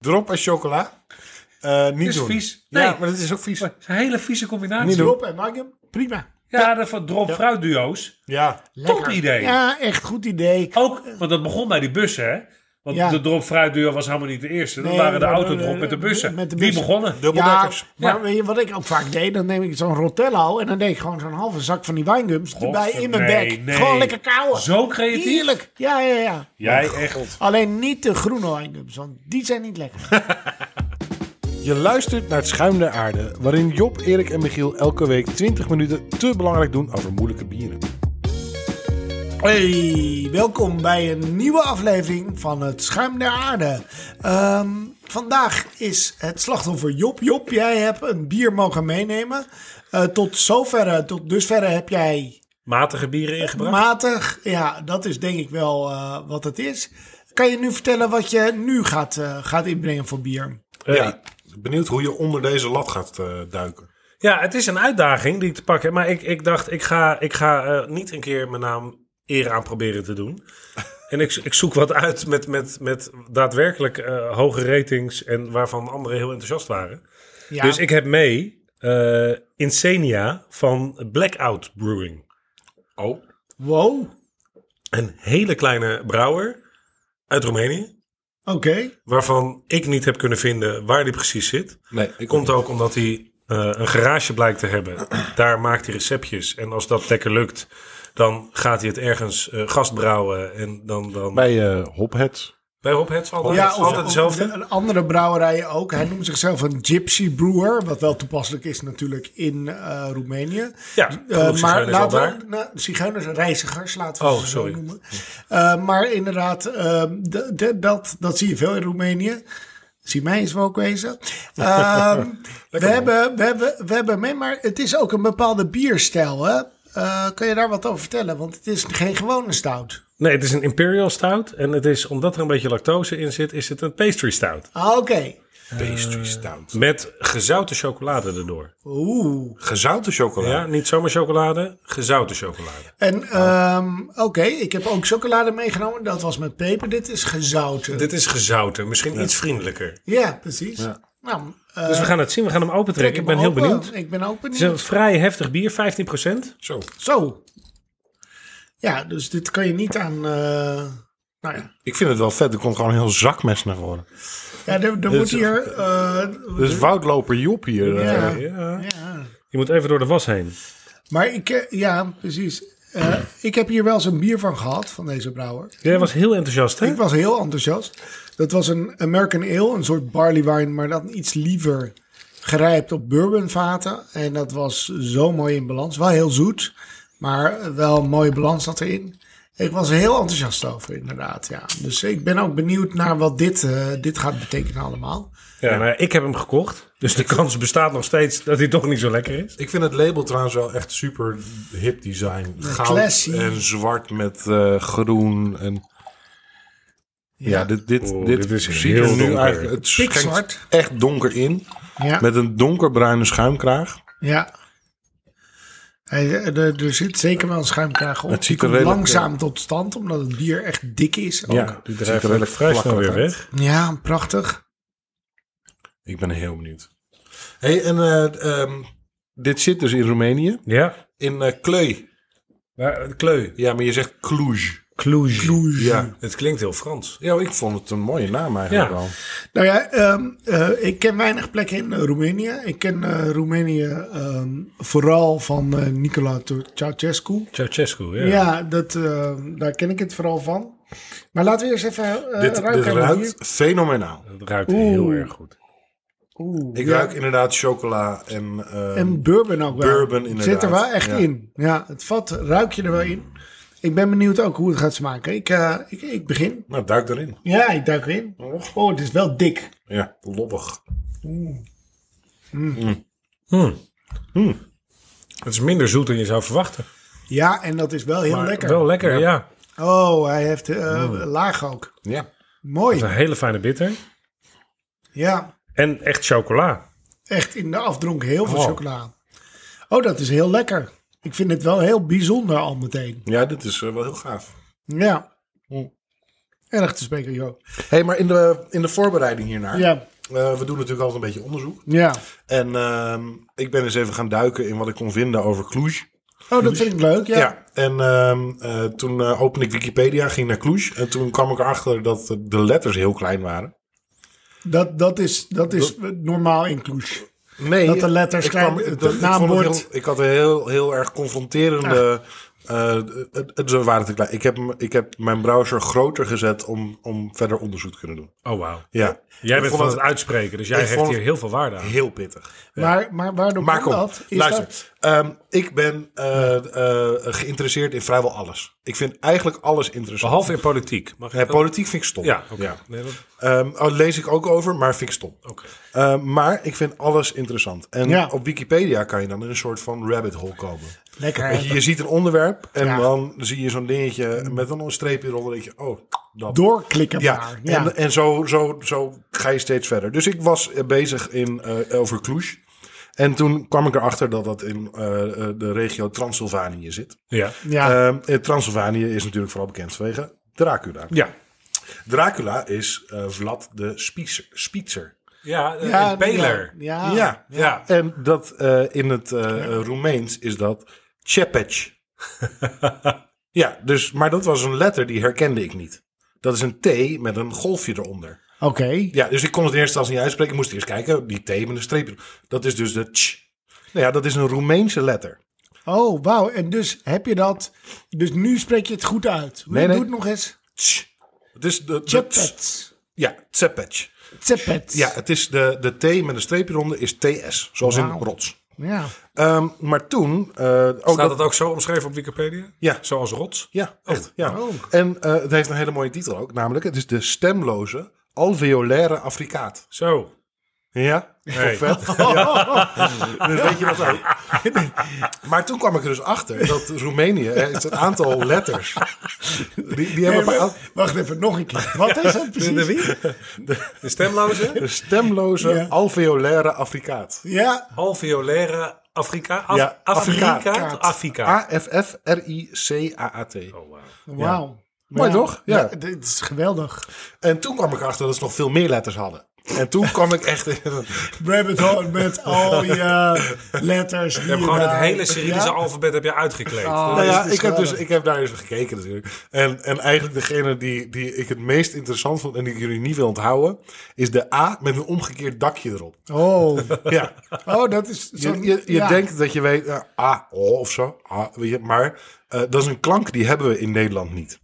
Drop en chocola. Eh, niet is doen. vies. Ja, Nee. maar dat is ook vies. Maar het is een hele vieze Niet combinatie. doen. Drop en Magnum, prima. Ja, dat van drop fruit duo's. Ja. Top Lekker. idee. Ja, echt goed idee. Ook, want dat begon bij die bussen, hè? Want Ja. de drop fruit duo was helemaal niet de eerste. Dat Nee, waren de maar- eh, autodrop met de bussen. met de Die bussen. begonnen. Ja, Dubbeldekkers. maar Ja. weet je wat ik ook vaak deed? Dan neem ik zo'n Rotello en dan deed ik gewoon zo'n halve zak van die wijngums erbij in mijn nee, bek. nee. Gewoon lekker kauwen. Zo creatief. Heerlijk. Oh, Ja, ja, ja. Jij echt. Alleen niet de groene wijngums, want die zijn niet lekker. Je luistert naar het Schuim der Aarde, waarin Job, Erik en Michiel elke week 20 minuten te belangrijk doen over moeilijke bieren. Hey, welkom bij een nieuwe aflevering van het Schuim der Aarde. Ehm, vandaag is het slachtoffer Job. Job, jij hebt een bier mogen meenemen. Eh, tot zoverre, tot dusverre heb jij Matige bieren ingebracht. matig. Ja, dat is denk ik wel eh, wat het is. Kan je nu vertellen wat je nu gaat, eh, gaat inbrengen voor bier? Ja. Benieuwd hoe je onder deze lat gaat eh, duiken. Ja, het is een uitdaging die ik te pakken heb. Maar ik, ik dacht, ik ga, ik ga eh, niet een keer mijn naam eer aan proberen te doen. En ik, ik zoek wat uit met, met, met daadwerkelijk eh, hoge ratings en waarvan anderen heel enthousiast waren. Ja, Dus ik heb mee eh, Insenia van Blackout Brewing. Oh. wow. Een hele kleine brouwer uit Roemenië. Oké. Waarvan ik niet heb kunnen vinden waar die precies zit. Nee, ik Komt ook omdat hij eh, een garage blijkt te hebben. Daar maakt hij receptjes. En als dat lekker lukt, dan gaat hij het ergens eh gastbrouwen. En dan, dan... Bij, bij eh, Hopheads. Rob Hetz altijd, Ja, altijd of, hetzelfde. of een andere brouwerij ook. Hij noemt zichzelf een gypsy brewer, wat wel toepasselijk is natuurlijk in eh, Roemenië. Ja, Eh, genoeg maar zigeuners al laten daar. we nou, zigeuners, reizigers, laten we Oh, ze zo sorry. noemen. Eh, maar inderdaad, eh, d- d- dat, dat zie je veel in Roemenië. Zie mij eens ook wezen. Ehm, we, hebben, we, hebben, we hebben mee, maar het is ook een bepaalde bierstijl. Hè? Eh, kan je daar wat over vertellen? Want het is geen gewone stout. Nee, het is een Imperial Stout. En het is, omdat er een beetje lactose in zit, is het een pastry stout. Ah, oké. Pastry stout. Met gezouten chocolade erdoor. Oeh. Gezouten chocola. Ja, niet zomaar chocolade, gezouten chocolade. En ehm, oké, ik heb ook chocolade meegenomen. Dat was met peper. Dit is gezouten. Dit is gezouten, misschien iets vriendelijker. Ja, precies. Nou, eh, Dus we gaan het zien, we gaan hem trek opentrekken. Dus Ik ben hem heel open. benieuwd. Ik ben ook Het is een benieuwd. vrij heftig bier, 15 Zo. Zo. Ja, dus dit kan je niet aan... eh, nou ja, Ik vind het wel vet. Er komt gewoon een heel zakmes naar voren. ja er, er wordt hier... eh, Dus woudloper Job hier. eh. ja, Ja. ja. Je moet even door de was heen. Maar ik... eh, ja, precies. Eh, ik heb hier wel eens een bier van gehad, van deze brouwer. Jij was heel enthousiast, hè? Ik was heel enthousiast. Dat was een American Ale, een soort barley wine, maar dan iets liever gerijpt op bourbonvaten. En dat was zo mooi in balans. Wel heel zoet, maar wel een mooie balans zat erin. Ik was er heel enthousiast over, inderdaad. Ja. Dus ik ben ook benieuwd naar wat dit, eh, dit gaat betekenen allemaal. Ja, nou ja, ik heb hem gekocht. Dus de kans bestaat nog steeds dat hij toch niet zo lekker is. Ik vind het label trouwens wel echt super hip design. Goud classy. en zwart met eh, groen. En... Ja, dit, dit, Oeh, dit, dit is ziet heel er nu donker. eigenlijk... Het schenkt Pikzwart. echt donker in. Ja, Met een donkerbruine schuimkraag. ja. Hij- eh, er, er zit zeker wel een schuimkraag op. Het ziet Die er komt redelijk- eh, langzaam tot stand, omdat het bier echt dik is. Ook. Ja, die Hij gaat vrij snel weer weg. ja, prachtig. Ik ben heel benieuwd. hey, en eh, ehm, dit zit dus in Roemenië. Ja. In eh Kleu. Maar, eh, kleu. Ja, maar je zegt Cluj. Cluj. Ja. Het klinkt heel Frans. ja, ik vond het een mooie naam eigenlijk Ja. wel. Nou ja, ehm, eh, ik ken weinig plekken in eh, Roemenië. Ik ken eh, Roemenië ehm, vooral van eh Nicola Teu- Ceausescu. Ceausescu, ja. Ja, dat, ehm, daar ken ik het vooral van. Maar laten we eerst even eh Dit, ruiken dit aan de bier. ruikt fenomenaal. Dat ruikt heel erg goed. Oeh, Ik ja. ruik inderdaad chocola en... eh, En bourbon ook wel. Bourbon, Het Zit inderdaad. er wel echt Ja. in. Ja, het vat ruik je er wel in. Ik ben benieuwd ook hoe het gaat smaken. Ik, eh, ik, ik begin. Nou, duik erin. Ja, ik duik erin. Oh, het is wel dik. Ja, lobbig. Het is minder zoet dan je zou verwachten. Ja, en dat is wel heel Maar lekker. wel lekker, ja. Oh, hij heeft eh, laag ook. Mm. Ja. Het is Mooi. een hele fijne bitter. Ja. En echt chocola. echt in de afdronk heel veel Oh. chocola. Oh, dat is heel lekker. Ik vind het wel heel bijzonder al meteen. Ja, dit is eh, wel heel gaaf. Ja. Erg te spreken, joh. hey, maar in de, in de voorbereiding hiernaar. Ja, eh, we doen natuurlijk altijd een beetje onderzoek. ja. En ehm, ik ben eens even gaan duiken in wat ik kon vinden over Cluj. Oh, dat vind ik leuk, ja. Ja. En ehm, eh, toen eh, opende ik Wikipedia, ging naar Cluj. En toen kwam ik erachter dat eh, de letters heel klein waren. Dat, dat is, dat is normaal in Cluj. Nee, Dat de letters ik klein- kwam- het dat- ik vond naamwoord- het heel- Ik had een heel, heel erg confronterende. eh, het, het, ze waren te klein. Ik heb, hem- ik heb mijn browser groter gezet om, om verder onderzoek te kunnen doen. Oh, wauw. Ja. Jij Ik bent vond van het uitspreken, dus jij ik geeft vond- hier heel veel waarde aan. heel pittig. Maar, maar waardoor Maar komt kom, dat? Is luister. dat- Ehm, ik ben eh, eh, geïnteresseerd in vrijwel alles. Ik vind eigenlijk alles interessant. Behalve in politiek. Mag ik Eh, dat- politiek vind ik stom. Ja, oké. Ja. Nee, dat- Ehm, oh, lees ik ook over, maar vind ik stom. oké. Ehm, maar ik vind alles interessant. En Oh. Ja. op Wikipedia kan je dan in een soort van rabbit hole komen. Lekker. Weet hè? je, je ziet een onderwerp en Ja. dan zie je zo'n dingetje met een streepje eronder. denk je, oh, dat. Doorklikken Ja, maar. Ja. en, eh, en zo, zo, zo ga je steeds verder. Dus ik was eh, bezig in, eh, over Cluj. En toen kwam ik erachter dat dat in eh, eh, de regio Transylvanië zit. Ja. ja. Ehm, eh, Transylvanië is natuurlijk vooral bekend vanwege Dracula. Ja. Dracula is eh, Vlad de Spiezer. Spitzer. Ja, eh, ja, en Peler. Ja. Ah, ja. ja. Ja. En dat eh, in het eh, eh, Roemeens is dat Chepec. ja, dus, maar dat was een letter die herkende ik niet. Dat is een T met een golfje eronder. Oké. Ja, dus ik kon het in eerste instantie niet uitspreken. Ik moest eerst kijken, die T met een streepje. Dat is dus de Tsch. Nou ja, dat is een Roemeense letter. Oh, wauw. En dus heb je dat. Dus nu spreek je het goed uit. Hoe Nee, nee. Doe het nog eens. Tsch. Het is de, de tsch. Chepet. Ja, Tsepec. Tsepet. Ja, het is de, de T met een streepje eronder is TS, zoals in Wauw. rots. Ja. Ehm, maar toen... eh, oh, Staat dat- dat ook zo omschreven op Wikipedia? Ja. Zoals rots? Ja, echt. Ja. En eh, het heeft een hele mooie titel ook, namelijk het is de stemloze alveolaire Afrikaat. Zo. Ja, Hey. vet. Ja. Dus weet je wat ook. Maar toen kwam ik er dus achter dat Roemenië, hè, het is een aantal letters, die, die hebben Nee, bij al- maar- wacht even, nog een keer. Wat is dat precies? De stemloze? de stemloze Ja. alveolaire Afrikaat. Ja. Alveolaire Afrika? Af, Ja, Ah. Afrika? Afrikaat. Afrika. A-F-F-R-I-C-a-a-t. Oh, wauw. Wauw. Mooi toch? Ja. Ja. Dit is geweldig. En toen kwam ik erachter dat ze nog veel meer letters hadden. En toen kwam ik echt in een- Rabbit hole met al je letters. Je hebt gewoon het hele Cyrillische alfabet heb je uitgekleed. Oh. Nou Dat ja, is dus ik heb, dus, geweldig. ik heb daar eens gekeken natuurlijk. En, en eigenlijk degene die, die ik het meest interessant vond en die ik jullie niet wil onthouden, is de A met een omgekeerd dakje erop. Oh. Ja, oh, dat is je, zo'n... je, je ja. denkt dat je weet, ah, A oh, of zo, ah, weet je, maar eh, dat is een klank die hebben we in Nederland niet.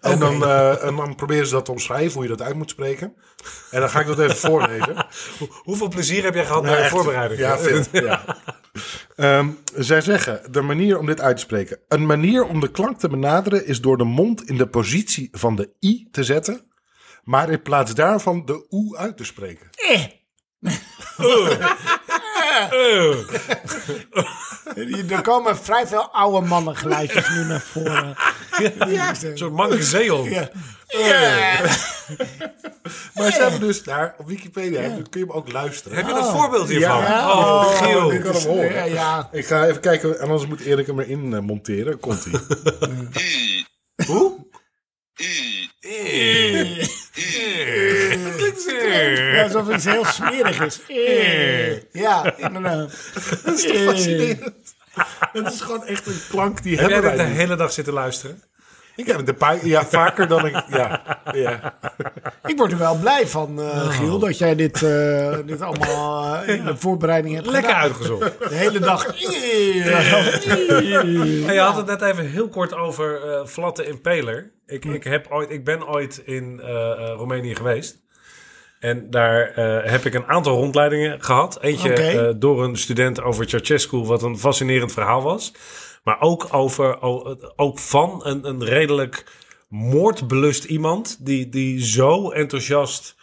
En, dan, eh, en dan proberen ze dat te omschrijven, hoe je dat uit moet spreken. En dan ga ik dat even voorlezen. Hoeveel plezier heb jij gehad bij Ja, de echt. voorbereiding? Ja, veel. Ja. Ehm, zij zeggen, de manier om dit uit te spreken. Een manier om de klank te benaderen is door de mond in de positie van de i te zetten. Maar in plaats daarvan de oe uit te spreken. Er komen vrij veel oude mannen geluidjes nu naar voren. Ja. Een Oh, soort mankezeel. Maar ze hebben dus daar op Wikipedia, dan kun je hem ook luisteren. Heb je een voorbeeld hiervan? Ja. Oh, Oh, Giel. dit- kan hem horen. Ja, ja. Ik ga even kijken, en anders moet Erik hem erin eh, monteren. Komt ie. Hoe? Dat klinkt zeer. Ja, Alsof het heel smerig is. Eh. Ja, inderdaad. Dat is toch fascinerend? Het is gewoon echt een klank die Heb jij hebben dit de wij niet. hele dag zitten luisteren? Ik heb het een paar, ja, vaker dan ik, ja. ja. Ik word er wel blij van, eh, Giel, dat jij dit, eh, dit allemaal eh, in de voorbereiding hebt Lekker gedaan. uitgezocht. De hele dag. Eh. Hey, je had het net even heel kort over eh vlatte impeler. Ik, ik, heb ooit, ik ben ooit in eh, eh, Roemenië geweest. En daar eh, heb ik een aantal rondleidingen gehad. Eentje Oké. eh, door een student over Ceausescu, wat een fascinerend verhaal was. Maar ook, over, o- ook van een, een redelijk moordbelust iemand... die, die zo enthousiast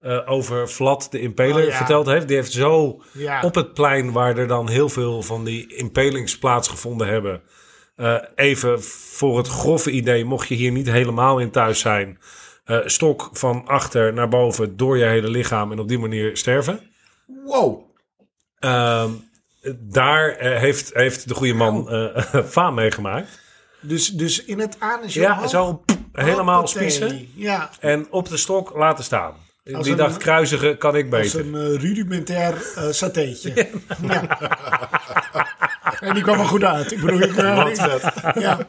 eh, over Vlad de Impeler Oh, ja. verteld heeft. Die heeft zo Ja. op het plein waar er dan heel veel van die impelings plaatsgevonden hebben... Eh, even voor het grove idee, mocht je hier niet helemaal in thuis zijn. eh, stok van achter naar boven door je hele lichaam en op die manier sterven. Wow. Ehm, daar eh, heeft, Nou. heeft de goede man eh faam meegemaakt. Dus, dus in het anus. Ja, omhoog? zo. helemaal Hoppatee. spiezen Ja, en op de stok laten staan. Als Die een- dacht, kruisigen kan ik als beter. een eh, rudimentair eh satéetje. Ja. en die kwam er goed uit. Ik bedoel, ik, eh, ja.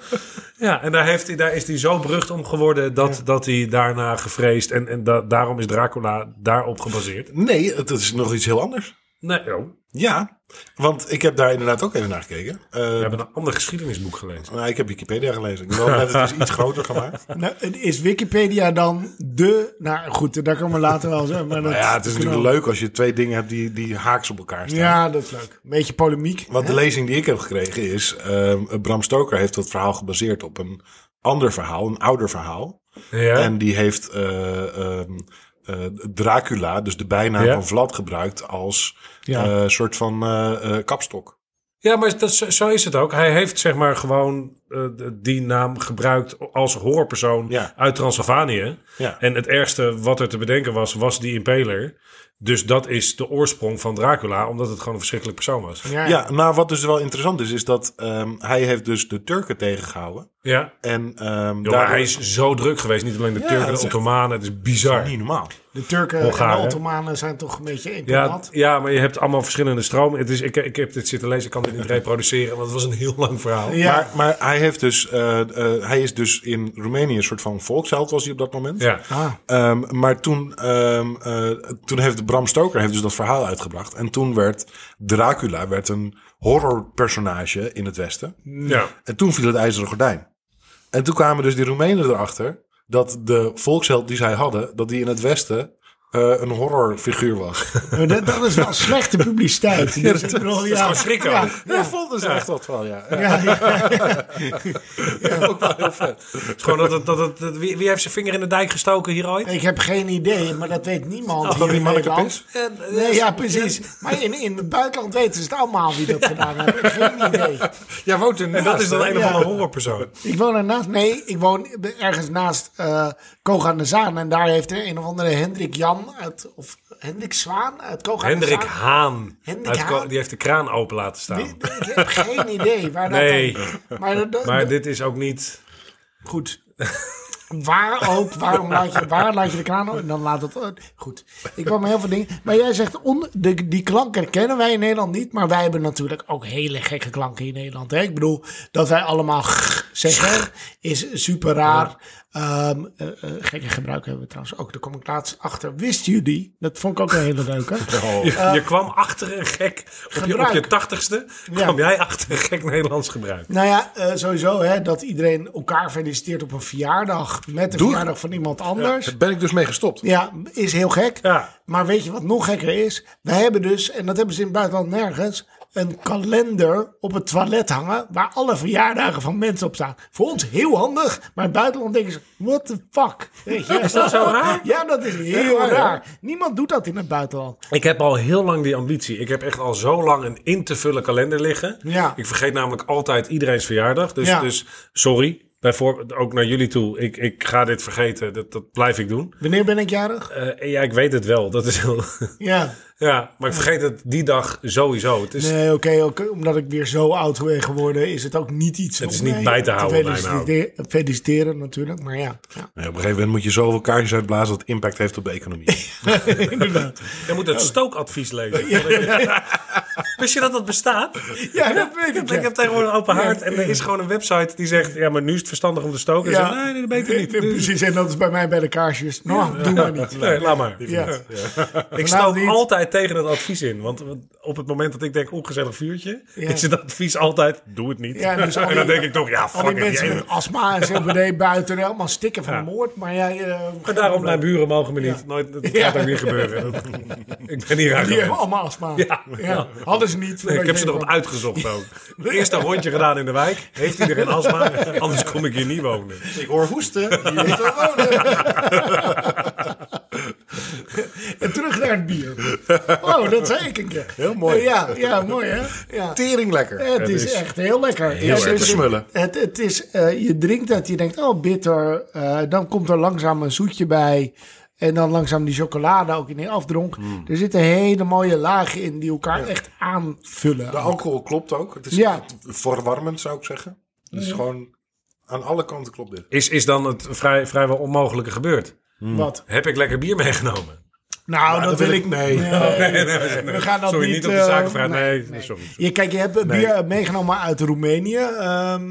Ja, en daar, heeft, hij- daar is hij zo berucht om geworden dat, dat hij daarna gevreesd... en, en da- daarom is Dracula daarop gebaseerd. Nee, het is nog iets heel anders. Nee, oh, Ja, want ik heb daar inderdaad ook even naar gekeken. Eh, we hebben een ander geschiedenisboek gelezen. nou, ik heb Wikipedia gelezen. Ik wil net het is iets groter gemaakt. Nou, het is Wikipedia dan de... Nou goed, daar komen we later wel zo. Maar dat, Nou ja, het is dat kunnen natuurlijk we- leuk als je twee dingen hebt die, die haaks op elkaar staan. Ja, dat is leuk. Een beetje polemiek. Want de lezing die ik heb gekregen is... ehm, Bram Stoker heeft dat verhaal gebaseerd op een ander verhaal, een ouder verhaal. Ja, En die heeft eh, ehm, eh, Dracula, dus de bijnaam Ja. van Vlad, gebruikt als Ja. eh, soort van eh, eh, kapstok. ja maar dat, zo- zo is het ook. Hij heeft zeg maar gewoon eh, de- die naam gebruikt als horrorpersoon Ja. uit Transylvanië. Ja. En het ergste wat er te bedenken was, was die impeler. Dus dat is de oorsprong van Dracula, omdat het gewoon een verschrikkelijk persoon was. Ja, Ja, nou wat dus wel interessant is, is dat ehm, hij heeft dus de Turken tegengehouden. Ja, En ehm Joh, maar daardoor- hij is zo druk geweest. Niet alleen de Ja, Turken, dat de is echt- Ottomanen. Het is bizar. niet normaal. de Turken en Hongaren. de Ottomanen zijn toch een beetje één Ja, plat. ja, maar je hebt allemaal verschillende stromen. Het is, ik, ik heb dit zitten lezen, ik kan dit niet reproduceren, want het was een heel lang verhaal. Ja. Maar, maar hij, heeft dus, eh, eh, hij is dus in Roemenië een soort van volksheld, was hij op dat moment. Ja. Ah, Ehm, maar toen, ehm, eh, toen heeft Bram Stoker heeft dus dat verhaal uitgebracht. En toen werd Dracula werd een horrorpersonage in het Westen. Mm. Ja. En toen viel het ijzeren gordijn. En toen kwamen dus die Roemenen erachter dat de volksheld die zij hadden, dat die in het Westen eh, een horrorfiguur was. maar dat, dat is wel slechte publiciteit. Dus ik bedoel, ja, gewoon schrikken Ja, ook. Daar vonden ze echt wat van, ja. ja, ja. Het is gewoon dat, het- dat, het- dat- wie, wie heeft zijn vinger in de dijk gestoken hier ooit? Ik heb geen idee, maar dat weet niemand. Oh, Dat hier die in manneke Nederland. pis? Nee, ja, precies. Maar in, in het buitenland weten ze het allemaal wie dat gedaan heeft. Geen idee. Jij woont in En dat is dan een of Ja. andere horrorpersoon. Ik woon ernaast. Nee, ik woon ergens naast eh Koog aan de Zaan. En daar heeft er een of andere Hendrik Jan uit. Of Hendrik Zwaan uit Koog aan Hendrik de Zaan. Haan. Hendrik Uit Ko- Haan? Die heeft de kraan open laten staan. Ik heb geen idee waar dat Nee. dan- Maar, dat- dat- Maar dit is ook niet... goed. Waar ook, waarom laat je, waar laat je de kraan open? En dan laat het... eh, Goed, ik kwam met heel veel dingen. Maar jij zegt, on, de, die klanken kennen wij in Nederland niet. Maar wij hebben natuurlijk ook hele gekke klanken in Nederland. Hè? Ik bedoel, dat wij allemaal g zeggen is super raar. Ehm, eh, eh, gekke gebruik hebben we trouwens ook. Daar kom ik laatst achter. Wisten jullie? Dat vond ik ook een hele leuke. Je, je kwam achter een gek. Op je, op Eh. gebruik. je tachtigste kwam jij achter een gek Nederlands gebruik. Nou ja, eh, sowieso hè, dat iedereen elkaar feliciteert op een verjaardag. Met de Doe- verjaardag van iemand anders. Daar ben ik dus mee gestopt. Ja, is heel gek. Ja. Maar weet je wat nog gekker is? Wij hebben dus, en dat hebben ze in het buitenland nergens, een kalender op het toilet hangen waar alle verjaardagen van mensen op staan. Voor ons heel handig, maar in het buitenland denken ze, what the fuck? Weet je? Is dat zo raar? Ja, dat is heel raar. Niemand doet dat in het buitenland. Ik heb al heel lang die ambitie. Ik heb echt al zo lang een in te vullen kalender liggen. Ja. Ik vergeet namelijk altijd iedereen's verjaardag. Dus, Ja. dus sorry. Bijvoorbeeld ook naar jullie toe. Ik, ik ga dit vergeten. Dat, dat blijf ik doen. Wanneer ben ik jarig? Eh, ja, ik weet het wel. Dat is heel... Ja. ja, maar ik vergeet het die dag sowieso. Het is, Nee, oké, oké, omdat ik weer zo oud ben geworden, is het ook niet iets. Het is om niet mij bij te houden, felicite- feliciteren natuurlijk, maar ja. ja. Nee, op een gegeven moment moet je zoveel kaarsjes uitblazen dat impact heeft op de economie. Inderdaad. Je moet Oh. het stookadvies lezen. Wist je dat dat bestaat? Ja, dat weet ik. ja. Ik heb tegenwoordig een open haard. En er is gewoon een website die zegt... Ja, maar nu is het verstandig om te stoken. Ja. Ja. nee, nee, dat beter niet. Ja, Precies, en dat is bij mij bij de kaarsjes. Nou, doe maar niet. Nee, laat maar. Ja. Ik stoot niet. altijd tegen het advies in. Want want op het moment dat ik denk, ongezellig vuurtje, Ja. is het advies altijd, doe het niet. Ja, dus al en die- dan denk ik toch, ja, Al die fuck it. mensen jij- met astma en COPD buiten helemaal stikken van moord. Maar jij... eh, Maar daarom, mijn buren mogen me niet. Nooit, dat gaat ook weer gebeuren. ik ben hier aan die hebben gewend. allemaal astma. Ja. Ja. Hadden ze niet. Ik heb ze erop uitgezocht ook. Eerst een rondje gedaan in de wijk. Heeft iedereen astma? Anders kom ik hier niet wonen. ik hoor hoesten. Hier moet Oh, wel wonen. En terug naar het bier. Oh, dat zei ik een keer. Heel mooi. Eh, Ja, ja mooi hè. Ja. Tering lekker. Eh, Het is is echt heel lekker. heel Ja, erg dus te smullen. Het, het is, eh, je drinkt dat, je denkt, oh bitter. eh, dan komt er langzaam een zoetje bij. En dan langzaam die chocolade ook in die afdronk. Er zitten hele mooie lagen in die elkaar echt aanvullen. De alcohol klopt ook. Het is Ja. verwarmend, zou ik zeggen. Dus gewoon Aan alle kanten klopt dit. Is, is dan het vrij, vrijwel onmogelijke gebeurd? Wat? Heb ik lekker bier meegenomen? Nou, dat, dat wil wil ik ik- niet. nee. We gaan dat sorry, niet... niet, op de eh, zakenvraag. nee. Nee, sorry. sorry. Je, kijk, je hebt bier meegenomen uit Roemenië. ehm,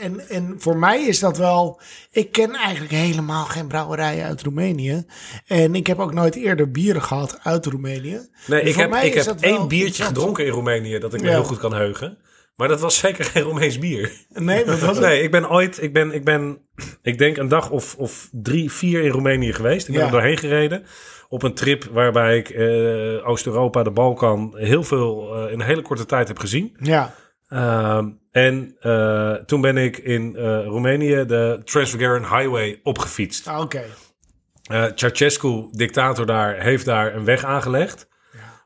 en, en voor mij is dat wel... Ik ken eigenlijk helemaal geen brouwerijen uit Roemenië. En ik heb ook nooit eerder bieren gehad uit Roemenië. Nee, Dus ik voor heb, mij ik is heb dat wel één biertje interessant. gedronken in Roemenië dat ik me Ja. heel goed kan heugen. Maar dat was zeker geen Roemeens bier. Nee, dat was het. Nee, ik ben ooit, ik ben, ik ben, ik denk een dag of, of drie, vier in Roemenië geweest. Ik ben Ja. er doorheen gereden op een trip waarbij ik eh, Oost-Europa, de Balkan, heel veel eh, in een hele korte tijd heb gezien. Ja, Ehm, en eh, toen ben ik in eh, Roemenië de Transfagaran Highway opgefietst. ah, oké. Eh Ceausescu, dictator daar, heeft daar een weg aangelegd.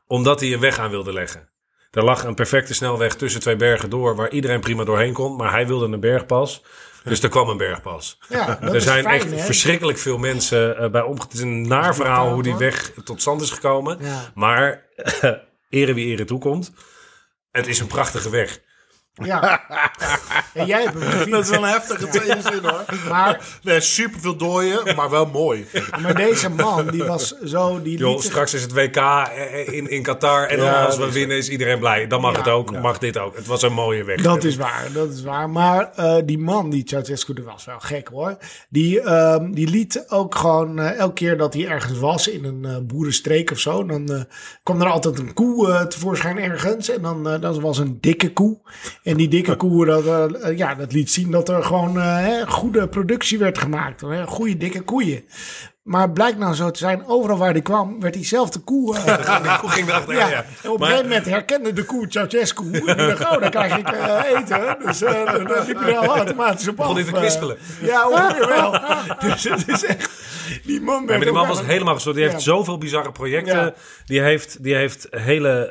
Omdat hij een weg aan wilde leggen. Er lag een perfecte snelweg tussen twee bergen door... waar iedereen prima doorheen kon. Maar hij wilde een bergpas. Dus er kwam een bergpas. Ja, dat er is zijn fijn, echt hè? verschrikkelijk veel mensen eh, bij omgekomen. Het is een naar verhaal hoe die weg tot stand is gekomen. Ja. Maar ere wie ere toekomt. Het is een prachtige weg. Ja. En jij hebt hem gefietst. Dat is wel een heftige tweede zin hoor. Maar, Nee, super veel dooien, maar wel mooi. maar deze man, die was zo... Die Joh, liet zich- straks is het WK eh, in, in Qatar. En dan Ja, als we dat is winnen is iedereen blij. Dan mag Ja. het ook, mag dit ook. Het was een mooie weg. Dat is waar, dat is waar. Maar eh, die man, die Ceausescu, dat was wel gek hoor. Die, ehm, die liet ook gewoon eh, elke keer dat hij ergens was in een eh, boerenstreek of zo. Dan eh, kwam er altijd een koe eh, tevoorschijn ergens. En dan eh, dat was een dikke koe. En die dikke koe, dat, eh, eh, ja, dat liet zien dat er gewoon eh, hè, goede productie werd gemaakt. Hè, goede dikke koeien. Maar blijkt nou zo te zijn, overal waar hij kwam, werd diezelfde koe. eh, Ja, Hoe ging dat? ja, Ja, ja. en op een Maar- gegeven moment herkende de koe Ceausescu. En die dacht, oh, dan krijg ik eh, eten. Dus eh, dan dan liep je er al automatisch op af. Begon hij te kwispelen? Eh, ja, ongeveer wel. dus het is echt... Die man werd Ja, maar die man ook was echt- helemaal gestoord. Die heeft Ja. zoveel bizarre projecten. Ja. Die, heeft, die heeft hele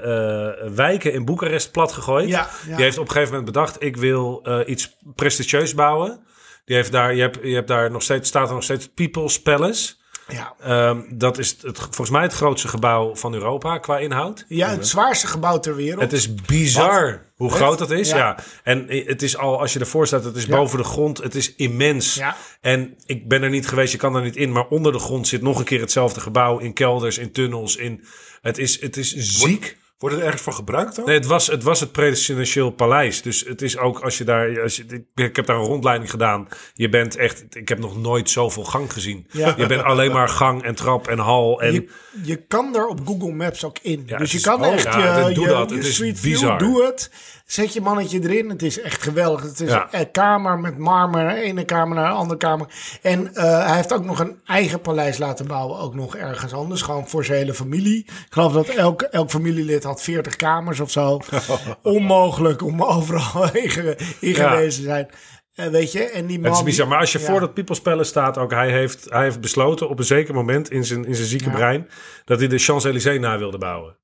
eh, wijken in Boekarest plat gegooid. Ja, ja. Die heeft op een gegeven moment bedacht: ik wil eh, iets prestigieus bouwen. Die heeft daar, je, hebt, je hebt daar nog steeds, staat er nog steeds People's Palace. Ja. Ehm, dat is het, volgens mij het grootste gebouw van Europa qua inhoud. ja, het zwaarste gebouw ter wereld. Het is bizar hoe groot dat is. Ja. Ja. En i- het is al, als je ervoor staat, het is boven de grond. Het is immens. Ja. En ik ben er niet geweest, je kan er niet in. Maar onder de grond zit nog een keer hetzelfde gebouw. In kelders, in tunnels. In, het, is, het is ziek. Wordt het ergens voor gebruikt dan? Nee, het, was, het was het presidentieel paleis. Dus het is ook als je daar. Als je, ik, ik heb daar een rondleiding gedaan. Je bent echt. Ik heb nog nooit zoveel gang gezien. Ja. Je bent alleen maar gang en trap en hal. En je, je kan er op Google Maps ook in. Ja, dus je het kan is- oh, echt ja, je, dit- doe je, dat. je Het is Street View, bizar. doe het. Zet je mannetje erin. Het is echt geweldig. Het is Ja. een kamer met marmer. De ene kamer naar de andere kamer. En eh, hij heeft ook nog een eigen paleis laten bouwen. Ook nog ergens anders. Gewoon voor zijn hele familie. Ik geloof dat elk, elk familielid had 40 kamers of zo. Onmogelijk om overal inge- ingewezen te zijn. Eh, weet je, en die man... Het is bizar. Maar als je ja. voor dat People's Palace staat, ook hij heeft, hij heeft besloten op een zeker moment in zijn, in zijn zieke brein dat hij de Champs-Élysées na wilde bouwen.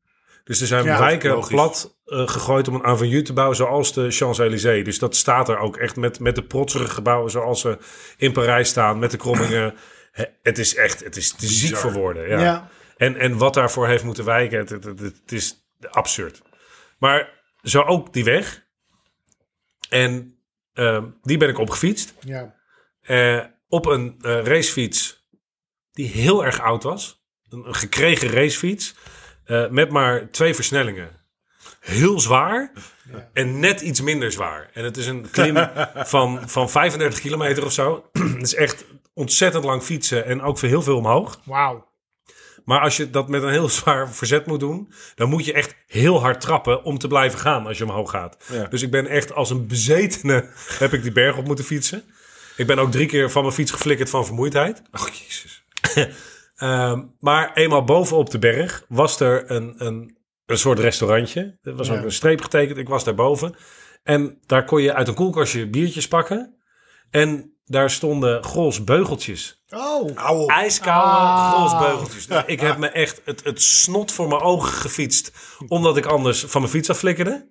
Dus er zijn Ja, wijken logisch. plat eh, gegooid om een avenue te bouwen, zoals de Champs-Élysées. Dus dat staat er ook echt met, met de protserige gebouwen zoals ze in Parijs staan, met de krommingen. He- het is echt, het is te ziek voor woorden. Ja. Ja. En, en wat daarvoor heeft moeten wijken, het, het, het- het is absurd. Maar zo ook die weg. En eh, die ben ik opgefietst. Ja. Eh, op een eh, racefiets die heel erg oud was. Een, een gekregen racefiets eh, met maar twee versnellingen. Heel zwaar en net iets minder zwaar. En het is een klim van, van 35 kilometer of zo. Het is echt ontzettend lang fietsen en ook voor heel veel omhoog. Wauw. Maar als je dat met een heel zwaar verzet moet doen, dan moet je echt heel hard trappen om te blijven gaan als je omhoog gaat. Ja. Dus ik ben echt als een bezetene heb ik die berg op moeten fietsen. Ik ben ook drie keer van mijn fiets geflikkerd van vermoeidheid. Oh, jezus. Ehm, maar eenmaal bovenop de berg was er een, een, een soort restaurantje. Er was Ja. ook een streep getekend. Ik was daarboven. En daar kon je uit een koelkastje biertjes pakken. En daar stonden Gols beugeltjes. Oh. Auw. Ijskoude Ah. grosbeugeltjes. Dus ik heb me echt het, het snot voor mijn ogen gefietst. Omdat ik anders van mijn fiets afflikkerde.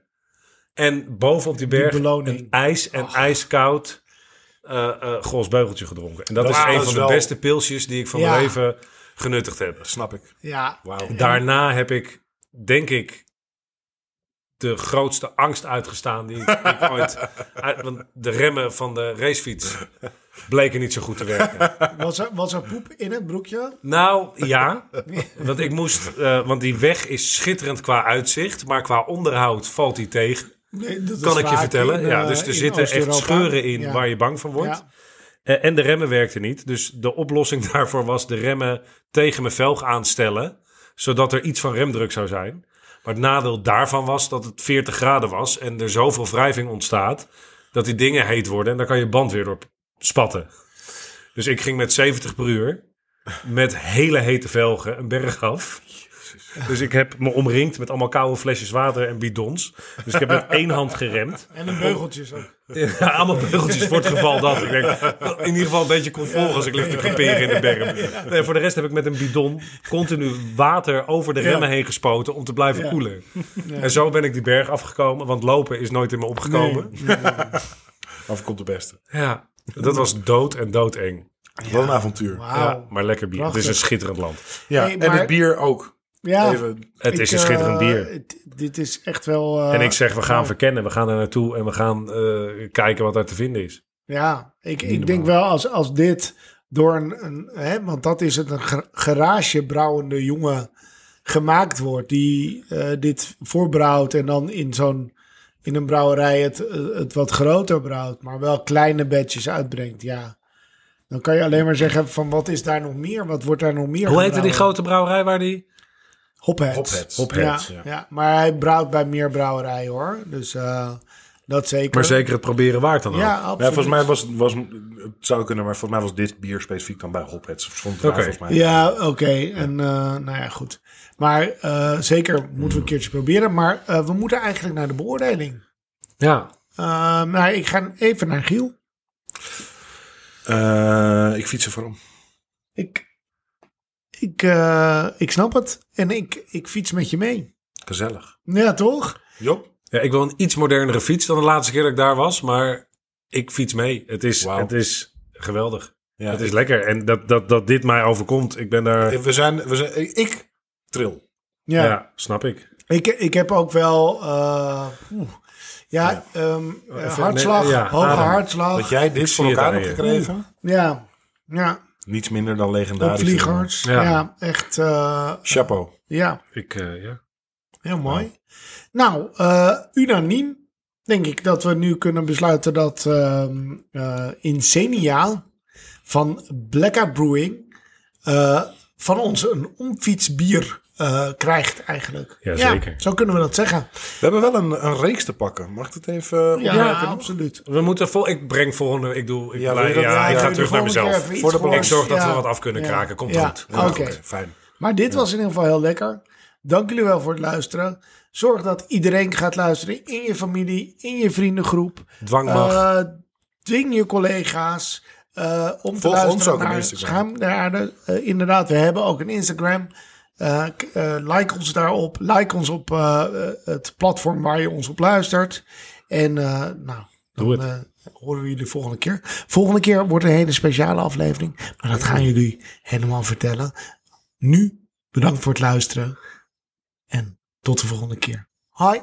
En boven op die berg beloning. een ijs Ah. en ijskoud eh eh grosbeugeltje gedronken. En dat is Wauw, een dat van is de wel- beste pilsjes die ik van Ja. mijn leven genuttigd heb. Snap ik. Ja. Wauw. Daarna heb ik, denk ik, de grootste angst uitgestaan die ik, die ik ooit... uit- want de remmen van de racefiets bleken niet zo goed te werken. Was er, was er poep in het broekje? Nou, ja. Want ik moest... eh, want die weg is schitterend qua uitzicht. Maar qua onderhoud valt die tegen. Nee, dat is Kan ik je vaak vertellen. in, ja, eh, dus er in zitten echt Oost-Europa. scheuren in Ja. waar je bang van wordt. Ja. Eh, En de remmen werkten niet. Dus de oplossing daarvoor was de remmen tegen mijn velg aanstellen. Zodat er iets van remdruk zou zijn. Maar het nadeel daarvan was dat het 40 graden was. En er zoveel wrijving ontstaat. Dat die dingen heet worden. En daar kan je band weer door p- spatten. Dus ik ging met 70 per uur. Met hele hete velgen een berg af. Dus ik heb me omringd met allemaal koude flesjes water en bidons. Dus ik heb met één hand geremd. En een beugeltjes ook. Ja, allemaal beugeltjes voor het geval dat. Ik denk, in ieder geval een beetje comfort als ik lig te creperen in de berm. Nee, voor de rest heb ik met een bidon continu water over de remmen heen gespoten om te blijven Ja. koelen. En zo ben ik die berg afgekomen, want lopen is nooit in me opgekomen. Of komt de beste. Ja, dat was dood en doodeng. Wat een avontuur. Ja, Wauw. maar lekker bier. Prachtig. Het is een schitterend land. Ja, Hey, en maar- het bier ook. Ja. Even. Het is Ik, een schitterend eh, bier. het- Dit is echt wel... eh, En ik zeg, we gaan verkennen, we gaan daar naartoe en we gaan eh, kijken wat daar te vinden is. Ja, ik, ik denk wel als, als dit door een, een hè, want dat is het, een gra- garagebrouwende jongen gemaakt wordt die eh, dit voorbrouwt en dan in zo'n in een brouwerij het, eh, het wat groter brouwt, maar wel kleine bedjes uitbrengt. Ja, dan kan je alleen maar zeggen van wat is daar nog meer? Wat wordt daar nog meer? Hoe heette die gebrouwen? grote brouwerij waar die... Hopheads. Hopheads. Hopheads, ja, ja. ja. maar hij brouwt bij meer brouwerijen hoor, dus eh, dat zeker. Maar zeker het proberen waard dan ook. Ja, Ja, absoluut. volgens mij was, was het zou kunnen, maar volgens mij was dit bier specifiek dan bij Hopheads. Of stond daar Oké. volgens mij. Ja, oké. En eh, nou ja, goed. Maar eh, zeker moeten we een keertje proberen. Maar eh, we moeten eigenlijk naar de beoordeling. ja. Eh, maar ik ga even naar Giel. Eh, ik fiets er voor om. Ik, ik, eh, ik snap het. En ik, ik fiets met je mee. Gezellig. Ja, toch? Job? Ja, ik wil een iets modernere fiets dan de laatste keer dat ik daar was, maar ik fiets mee. Het is, Wauw. het is geweldig. Ja, het is lekker. En dat, dat, dat dit mij overkomt, ik ben daar. Eh, We zijn, we zijn, ik tril. Ja. ja. snap ik. Ik, ik heb ook wel... eh, oeh. ja, ehm, eh, hartslag. nee, ja, hoge adem. hartslag. Dat jij dit zie voor het elkaar aan hebt je. gekregen. Ja, ja. Niets minder dan legendarisch. Opvliegers. Ja. Ja. echt... eh, Chapeau. ja. ik eh, ja. Heel mooi. Nou, eh, unaniem denk ik dat we nu kunnen besluiten dat ehm, eh, Insenia van Blackout Brewing eh, van ons een omfietsbier eh, krijgt eigenlijk. Ja, zeker. zo kunnen we dat zeggen. We hebben wel een, een reeks te pakken. Mag ik het even eh, Ja, opmerken? absoluut. We moeten vol. Ik breng volgende. Ik doe. Ik, Ja, blij- wil je dat- ja, ja, ik ja, ga doe terug naar gewoon een keer mezelf. even iets Voor de voor balans. Ik zorg dat Ja. we wat af kunnen Ja. kraken. Komt Ja. goed. Ja, Oh, Oké. fijn. Maar dit was in ieder geval heel lekker. Dank jullie wel voor het luisteren. Zorg dat iedereen gaat luisteren in je familie, in je vriendengroep. Dwangmacht. Eh, dwing je collega's eh, om te Volg luisteren ons ook op naar Instagram. Schuim der Aarde. Eh, inderdaad, we hebben ook een Instagram. Eh, k- eh, like ons daarop. Like ons op eh, eh, het platform waar je ons op luistert. En eh, nou, Doe dan het. eh, horen we jullie volgende keer. Volgende keer wordt een hele speciale aflevering. Maar dat gaan jullie helemaal vertellen. Nu bedankt voor het luisteren. En tot de volgende keer. Hoi.